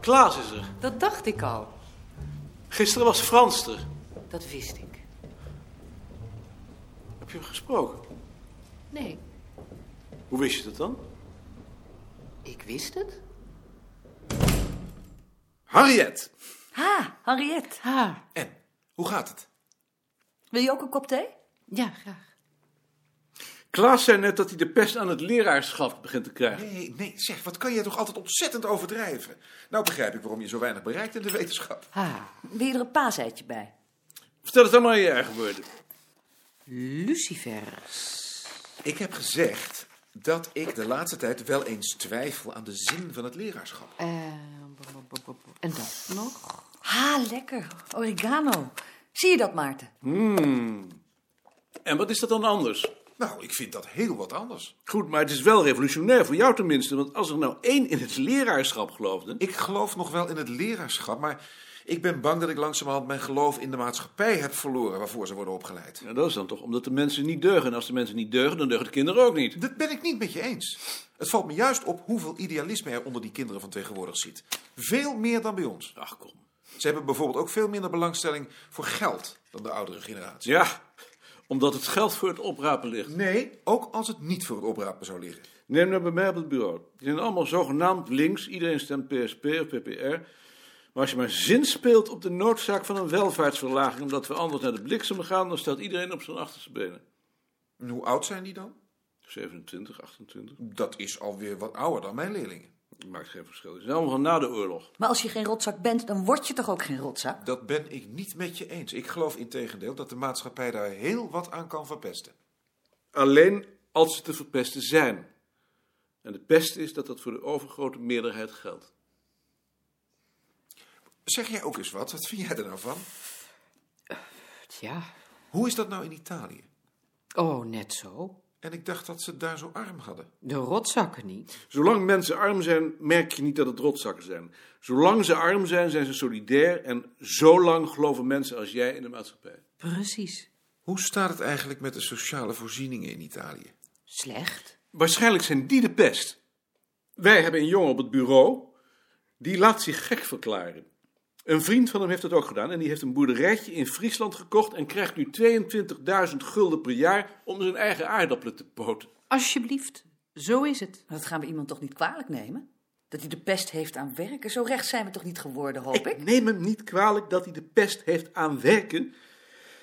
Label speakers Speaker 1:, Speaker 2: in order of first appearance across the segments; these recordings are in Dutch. Speaker 1: Klaas is er.
Speaker 2: Dat dacht ik al.
Speaker 1: Gisteren was Frans er.
Speaker 2: Dat wist ik.
Speaker 1: Heb je hem gesproken?
Speaker 2: Nee,
Speaker 1: Hoe wist je dat dan?
Speaker 2: ik wist het.
Speaker 3: Harriet!
Speaker 4: Ha, Henriette.
Speaker 2: Ha.
Speaker 3: En, hoe gaat het?
Speaker 4: Wil je ook een kop thee?
Speaker 2: Ja, graag.
Speaker 1: Klaas zei net dat hij de pest aan het leraarschap begint te krijgen.
Speaker 3: Nee, nee, zeg, wat kan jij toch altijd ontzettend overdrijven? Nou begrijp ik waarom je zo weinig bereikt in de wetenschap.
Speaker 2: Ha.
Speaker 4: Wil je er een paaseitje bij?
Speaker 1: Vertel het dan maar in je eigen woorden.
Speaker 2: Lucifers.
Speaker 3: Ik heb gezegd dat ik de laatste tijd wel eens twijfel aan de zin van het leraarschap.
Speaker 2: Eh, bo- bo- bo- bo- bo- en dat nog?
Speaker 4: Ha, lekker. Oregano. Zie je dat, Maarten?
Speaker 1: En wat is dat dan anders?
Speaker 3: Nou, ik vind dat heel wat anders.
Speaker 1: Goed, maar het is wel revolutionair, voor jou tenminste. Want als er nou één in het leraarschap geloofde...
Speaker 3: Ik geloof nog wel in het leraarschap, maar ik ben bang dat ik langzamerhand mijn geloof in de maatschappij heb verloren waarvoor ze worden opgeleid.
Speaker 1: Ja, nou, dat is dan toch omdat de mensen niet deugen. En als de mensen niet deugen, dan deugen de kinderen ook niet.
Speaker 3: Dat ben ik niet met je eens. Het valt me juist op hoeveel idealisme er onder die kinderen van tegenwoordig zit. Veel meer dan bij ons.
Speaker 1: Ach, kom.
Speaker 3: Ze hebben bijvoorbeeld ook veel minder belangstelling voor geld dan de oudere generatie.
Speaker 1: Ja, omdat het geld voor het oprapen ligt.
Speaker 3: Nee, ook als het niet voor het oprapen zou liggen.
Speaker 1: Neem nou bij mij op het bureau. Die zijn allemaal zogenaamd links. Iedereen stemt PSP of PPR. Maar als je maar zin speelt op de noodzaak van een welvaartsverlaging... omdat we anders naar de bliksem gaan... dan staat iedereen op zijn achterste benen.
Speaker 3: En hoe oud zijn die dan?
Speaker 1: 27, 28.
Speaker 3: Dat is alweer wat ouder dan mijn leerlingen.
Speaker 1: Maakt geen verschil. Het is allemaal van na de oorlog.
Speaker 4: Maar als je geen rotzak bent, dan word je toch ook geen rotzak?
Speaker 3: Dat ben ik niet met je eens. Ik geloof integendeel dat de maatschappij daar heel wat aan kan verpesten.
Speaker 1: Alleen als ze te verpesten zijn. En het beste is dat dat voor de overgrote meerderheid geldt.
Speaker 3: Zeg jij ook eens wat? Wat vind jij er nou van?
Speaker 2: Ja.
Speaker 3: Hoe is dat nou in Italië?
Speaker 2: Oh, net zo.
Speaker 3: En ik dacht dat ze het daar zo arm hadden.
Speaker 2: De rotzakken niet.
Speaker 1: Zolang mensen arm zijn, merk je niet dat het rotzakken zijn. Zolang ze arm zijn, zijn ze solidair. En zolang geloven mensen als jij in de maatschappij.
Speaker 2: Precies.
Speaker 3: Hoe staat het eigenlijk met de sociale voorzieningen in Italië?
Speaker 2: Slecht.
Speaker 1: Waarschijnlijk zijn die de pest. Wij hebben een jongen op het bureau. Die laat zich gek verklaren. Een vriend van hem heeft dat ook gedaan. En die heeft een boerderijtje in Friesland gekocht. En krijgt nu 22.000 gulden per jaar om zijn eigen aardappelen te poten.
Speaker 2: Alsjeblieft. Zo is het.
Speaker 4: Maar dat gaan we iemand toch niet kwalijk nemen? Dat hij de pest heeft aan werken? Zo recht zijn we toch niet geworden, hoop ik?
Speaker 1: neem hem niet kwalijk dat hij de pest heeft aan werken.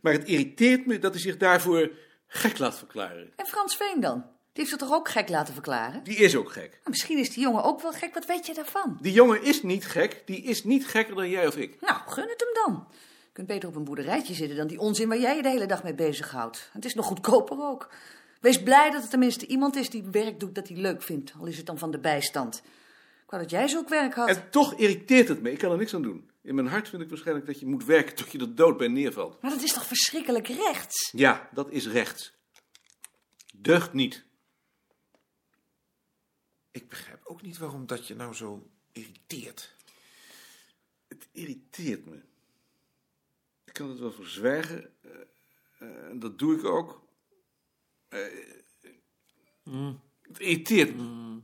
Speaker 1: Maar het irriteert me dat hij zich daarvoor gek laat verklaren.
Speaker 4: En Frans Veen dan? Die heeft zich toch ook gek laten verklaren?
Speaker 1: Die is ook gek.
Speaker 4: Nou, misschien is die jongen ook wel gek, wat weet je daarvan?
Speaker 1: Die jongen is niet gek. Die is niet gekker dan jij of ik.
Speaker 4: Nou, gun het hem dan. Je kunt beter op een boerderijtje zitten dan die onzin waar jij je de hele dag mee bezighoudt. Het is nog goedkoper ook. Wees blij dat er tenminste iemand is die werk doet dat hij leuk vindt, al is het dan van de bijstand. Ik wou dat jij zulk werk had.
Speaker 1: En toch irriteert het me. Ik kan er niks aan doen. In mijn hart vind ik waarschijnlijk dat je moet werken tot je er dood bij neervalt.
Speaker 4: Maar dat is toch verschrikkelijk rechts?
Speaker 1: Ja, dat is rechts. Deugt niet.
Speaker 3: Ik begrijp ook niet waarom dat je nou zo irriteert.
Speaker 1: Het irriteert me. Ik kan het wel verzwijgen. eh, eh, en dat doe ik ook. Eh, Het irriteert me.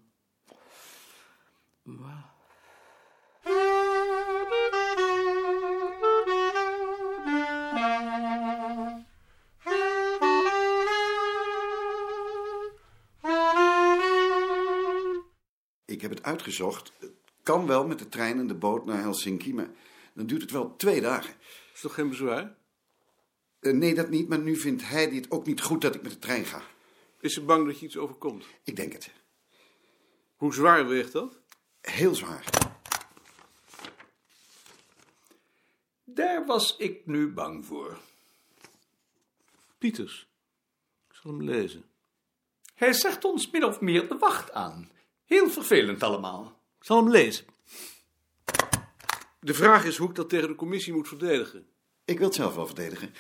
Speaker 5: Ik heb het uitgezocht. Het kan wel met de trein en de boot naar Helsinki, maar dan duurt het wel twee dagen.
Speaker 1: Is toch geen bezwaar?
Speaker 5: Eh, nee, dat niet, maar nu vindt hij die het ook niet goed dat ik met de trein ga.
Speaker 1: Is ze bang dat je iets overkomt?
Speaker 5: Ik denk het.
Speaker 1: Hoe zwaar weegt dat?
Speaker 5: Heel zwaar.
Speaker 6: Daar was ik nu bang voor.
Speaker 1: Pieters. Ik zal hem lezen.
Speaker 6: Hij zegt ons min of meer de wacht aan. Heel vervelend allemaal.
Speaker 1: Ik zal hem lezen. De vraag is hoe ik dat tegen de commissie moet verdedigen.
Speaker 5: Ik wil het zelf wel verdedigen.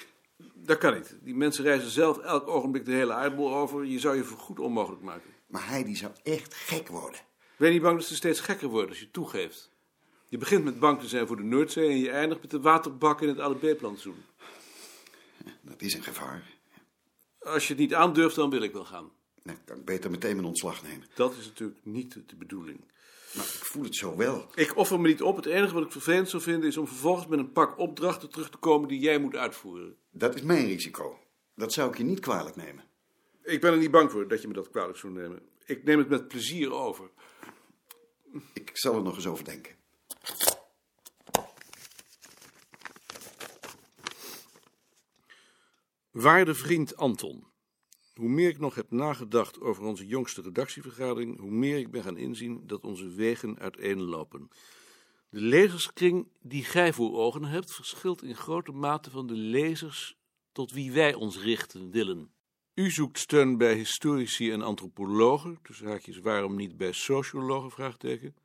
Speaker 1: Dat kan niet. Die mensen reizen zelf elk ogenblik de hele aardbol over. Je zou je voorgoed onmogelijk maken.
Speaker 5: Maar hij die zou echt gek worden.
Speaker 1: Ben je niet bang dat ze steeds gekker worden als je het toegeeft? Je begint met bang te zijn voor de Noordzee en je eindigt met de waterbak in het Alep-plantsoen.
Speaker 5: Dat is een gevaar. Nou,
Speaker 1: Als je het niet aandurft, dan wil ik wel gaan.
Speaker 5: Dan kan ik beter meteen mijn ontslag nemen.
Speaker 1: Dat is natuurlijk niet de bedoeling.
Speaker 5: Maar ik voel het zo wel.
Speaker 1: Ik offer me niet op. Het enige wat ik vervelend zou vinden is om vervolgens met een pak opdrachten terug te komen die jij moet uitvoeren.
Speaker 5: Dat is mijn risico. Dat zou ik je niet kwalijk nemen.
Speaker 1: Ik ben er niet bang voor dat je me dat kwalijk zou nemen. Ik neem het met plezier over.
Speaker 5: Ik zal er nog eens over denken.
Speaker 1: Waarde vriend Anton, hoe meer ik nog heb nagedacht over onze jongste redactievergadering, hoe meer ik ben gaan inzien dat onze wegen uiteenlopen. De lezerskring die gij voor ogen hebt, verschilt in grote mate van de lezers tot wie wij ons richten willen. U zoekt steun bij historici en antropologen, tussen haakjes waarom niet bij sociologen, vraagteken.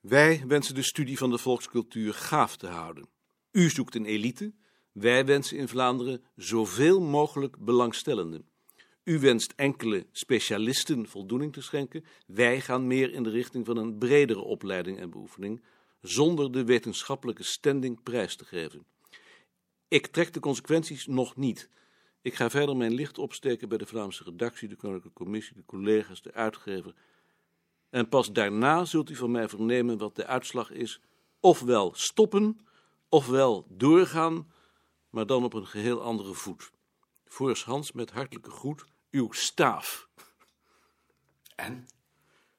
Speaker 1: Wij wensen de studie van de volkscultuur gaaf te houden. U zoekt een elite, wij wensen in Vlaanderen zoveel mogelijk belangstellenden. U wenst enkele specialisten voldoening te schenken. Wij gaan meer in de richting van een bredere opleiding en beoefening, zonder de wetenschappelijke standing prijs te geven. Ik trek de consequenties nog niet. Ik ga verder mijn licht opsteken bij de Vlaamse redactie, de Koninklijke Commissie, de collega's, de uitgever. En pas daarna zult u van mij vernemen wat de uitslag is: ofwel stoppen, ofwel doorgaan maar dan op een geheel andere voet. Voors Hans met hartelijke groet, uw staaf.
Speaker 6: En?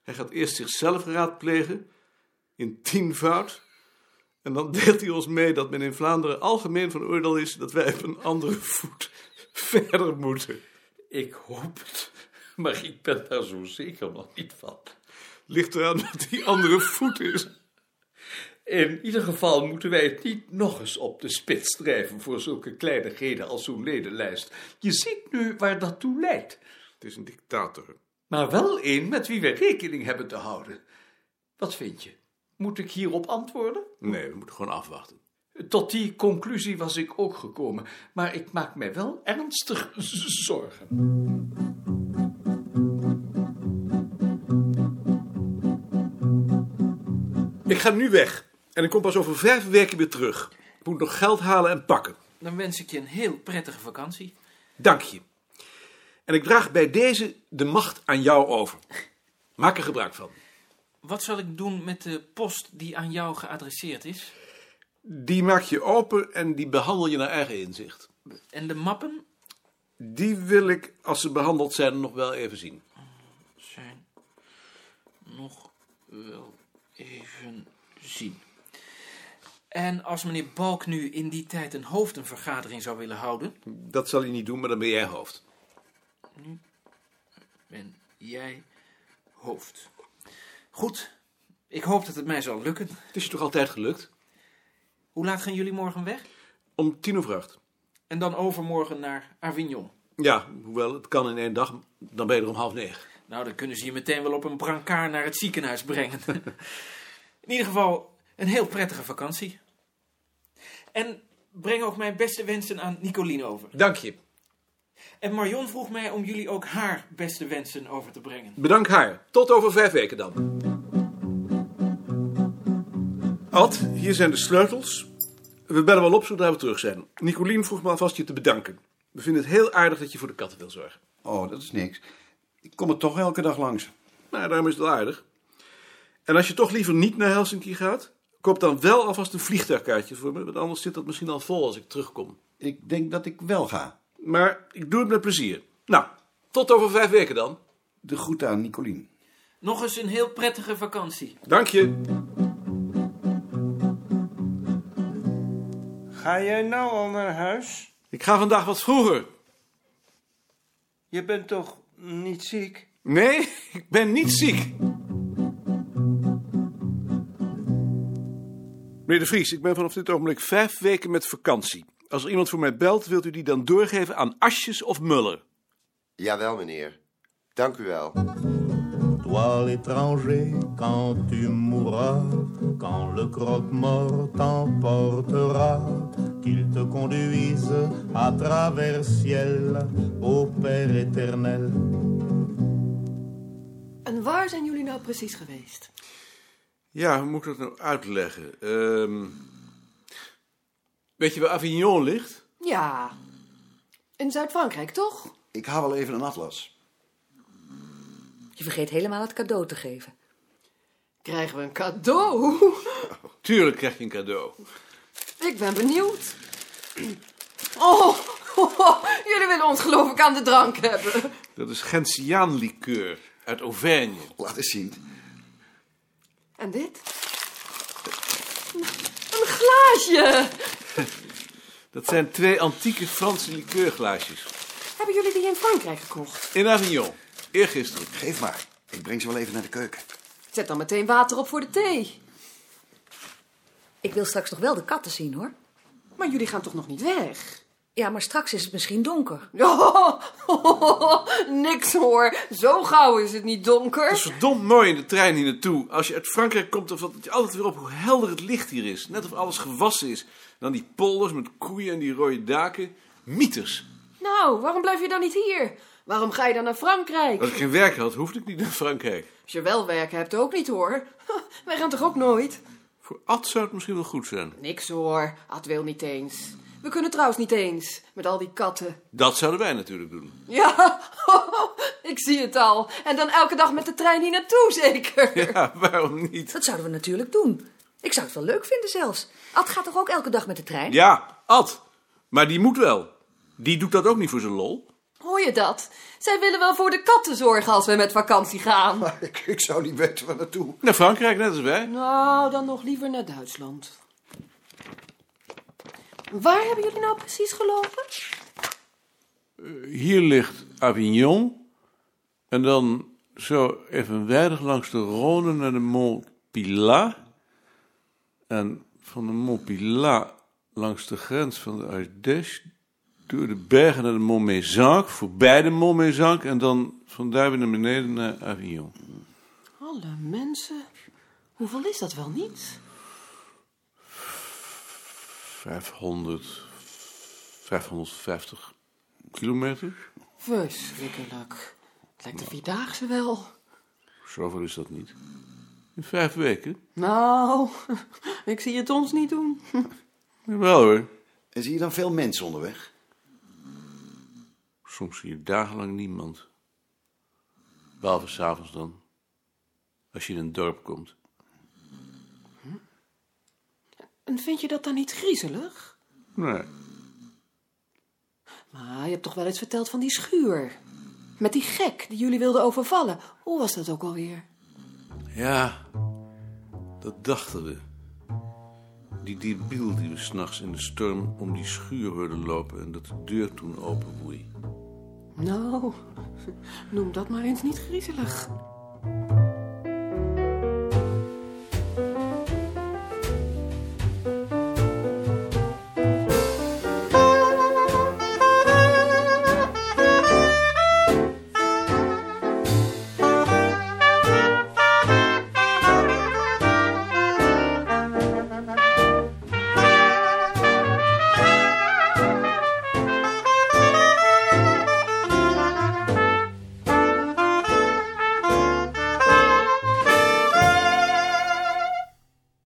Speaker 1: Hij gaat eerst zichzelf raadplegen, in tienvoud, en dan deelt hij ons mee dat men in Vlaanderen algemeen van oordeel is dat wij op een andere voet verder moeten.
Speaker 6: Ik hoop het, maar ik ben daar zo zeker nog niet van.
Speaker 1: Ligt eraan wat die andere voet is.
Speaker 6: Dus In ieder geval moeten wij het niet nog eens op de spits drijven voor zulke kleinigheden als zo'n ledenlijst. Je ziet nu waar dat toe leidt.
Speaker 1: Het is een dictator.
Speaker 6: Maar wel één met wie we rekening hebben te houden. Wat vind je? Moet ik hierop antwoorden?
Speaker 1: Nee, we moeten gewoon afwachten.
Speaker 6: Tot die conclusie was ik ook gekomen, maar ik maak mij wel ernstig z- zorgen.
Speaker 1: Ik ga nu weg en ik kom pas over vijf weken weer terug. Ik moet nog geld halen en pakken.
Speaker 7: Dan wens ik je een heel prettige vakantie.
Speaker 1: Dank je. En ik draag bij deze de macht aan jou over. Maak er gebruik van.
Speaker 7: Wat zal ik doen met de post die aan jou geadresseerd is?
Speaker 1: Die maak je open en die behandel je naar eigen inzicht.
Speaker 7: En de mappen
Speaker 1: Die wil ik, als ze behandeld zijn, nog wel even zien.
Speaker 7: zijn nog wel even zien. En als meneer Balk nu in die tijd een hoofdenvergadering zou willen houden,
Speaker 1: Dat zal hij niet doen, maar dan ben jij hoofd.
Speaker 7: ben jij hoofd. Goed, ik hoop dat het mij zal lukken.
Speaker 1: Het is je toch altijd gelukt?
Speaker 7: Hoe laat gaan jullie morgen weg?
Speaker 1: Om tien over acht.
Speaker 7: En dan overmorgen naar Avignon.
Speaker 1: Ja, hoewel het kan in één dag, dan ben je er om half negen.
Speaker 7: Nou, dan kunnen ze je meteen wel op een brancard naar het ziekenhuis brengen. In ieder geval een heel prettige vakantie. En breng ook mijn beste wensen aan Nicoline over.
Speaker 1: Dank je.
Speaker 7: En Marion vroeg mij om jullie ook haar beste wensen over te brengen.
Speaker 1: Bedankt haar. Tot over vijf weken dan. Ad, hier zijn de sleutels. We bellen wel op zodra we terug zijn. Nicolien vroeg me alvast je te bedanken. We vinden het heel aardig dat je voor de katten wil zorgen.
Speaker 5: Oh, dat is niks. Ik kom er toch elke dag langs.
Speaker 1: Nou, daarom is het wel aardig. En als je toch liever niet naar Helsinki gaat, koop dan wel alvast een vliegtuigkaartje voor me. Want anders zit dat misschien al vol als ik terugkom.
Speaker 5: Ik denk dat ik wel ga.
Speaker 1: Maar ik doe het met plezier. Nou, tot over vijf weken dan.
Speaker 5: De groeten aan Nicolien.
Speaker 7: Nog eens een heel prettige vakantie.
Speaker 1: Dank je.
Speaker 8: Ga jij nou al naar huis?
Speaker 1: Ik ga vandaag wat vroeger.
Speaker 8: Je bent toch niet ziek?
Speaker 1: Nee, ik ben niet ziek. Meneer de Vries, ik ben vanaf dit ogenblik vijf weken met vakantie. Als er iemand voor mij belt, wilt u die dan doorgeven aan Asjes of Muller?
Speaker 9: Jawel, meneer. Dank u wel.
Speaker 10: Toi l'étranger, quand tu mourras, quand le croque-mort t'emportera, qu'il te conduise à travers ciel, au Père éternel.
Speaker 11: En waar zijn jullie nou precies geweest?
Speaker 1: Ja, hoe moet ik dat nou uitleggen? Ehm, weet je waar Avignon ligt?
Speaker 11: Ja, in Zuid-Frankrijk, toch?
Speaker 5: Ik haal wel even een atlas.
Speaker 4: Je vergeet helemaal het cadeau te geven. Krijgen we een cadeau?
Speaker 1: Tuurlijk krijg je een cadeau.
Speaker 4: Ik ben benieuwd. Oh, jullie willen ons geloof ik aan de drank hebben.
Speaker 1: Dat is Gentiaanlikeur uit Auvergne.
Speaker 5: Laat eens zien.
Speaker 4: En dit? Een glaasje.
Speaker 1: Dat zijn twee antieke Franse likeurglaasjes.
Speaker 4: Hebben jullie die in Frankrijk gekocht?
Speaker 1: In Avignon, eergisteren.
Speaker 5: Geef maar. Ik breng ze wel even naar de keuken.
Speaker 4: Zet dan meteen water op voor de thee.
Speaker 12: Ik wil straks nog wel de katten zien, hoor.
Speaker 4: Maar jullie gaan toch nog niet weg?
Speaker 12: Ja, maar straks is het misschien donker.
Speaker 4: Oh, niks hoor. Zo gauw is het niet
Speaker 1: Het is
Speaker 4: donker.
Speaker 1: verdomd mooi in de trein hier naartoe. Als je uit Frankrijk komt, dan valt het je altijd weer op hoe helder het licht hier is. Net of alles gewassen is. En dan die polders met koeien en die rode daken. Mieters.
Speaker 4: Nou, waarom blijf je dan niet hier? Waarom ga je dan naar Frankrijk?
Speaker 1: Als ik geen werk had, hoefde ik niet naar Frankrijk.
Speaker 4: Als je wel werk hebt, ook niet hoor. Wij gaan toch ook nooit?
Speaker 1: Voor Ad zou het misschien wel goed zijn.
Speaker 4: Niks hoor. Ad wil niet eens. We kunnen trouwens niet eens. Met al die katten.
Speaker 1: Dat zouden wij natuurlijk doen.
Speaker 4: Ja, ik zie het al. En dan elke dag met de trein hier naartoe, zeker.
Speaker 1: Ja, waarom niet?
Speaker 12: Dat zouden we natuurlijk doen. Ik zou het wel leuk vinden zelfs. Ad gaat toch ook elke dag met de trein?
Speaker 1: Ja, Ad. Maar die moet wel. Die doet dat ook niet voor zijn lol.
Speaker 4: Hoor je dat? Zij willen wel voor de katten zorgen als we met vakantie gaan.
Speaker 5: Maar ik, ik zou niet weten waar naartoe.
Speaker 1: Naar Frankrijk, net als wij.
Speaker 4: Nou, dan nog liever naar Duitsland. Waar hebben jullie nou precies gelopen?
Speaker 1: Hier ligt Avignon. En dan zo evenwijdig langs de Rhône naar de Mont Pilat. En van de Mont Pilat langs de grens van de Ardèche. Door de bergen naar de Mont Mézenc, voorbij de Mont Mézenc. En dan vandaar weer naar beneden naar Avignon.
Speaker 4: Alle mensen. Hoeveel is dat wel niet?
Speaker 1: 500, 550 kilometer.
Speaker 4: Verschrikkelijk. Het lijkt een vierdaagse wel.
Speaker 1: Zoveel is dat niet. In vijf weken?
Speaker 4: Nou, ik zie het ons niet doen.
Speaker 1: Jawel hoor.
Speaker 5: En zie je dan veel mensen onderweg?
Speaker 1: Soms zie je dagenlang niemand. Behalve s'avonds dan. Als je in een dorp komt.
Speaker 4: En vind je dat dan niet griezelig?
Speaker 1: Nee.
Speaker 4: Maar je hebt toch wel eens verteld van die schuur. Met die gek die jullie wilden overvallen. Hoe was dat ook alweer?
Speaker 1: Ja, dat dachten we. Die debiel die we s'nachts in de storm om die schuur hoorden lopen en dat de deur toen openwoei.
Speaker 4: Nou, noem dat maar eens niet griezelig.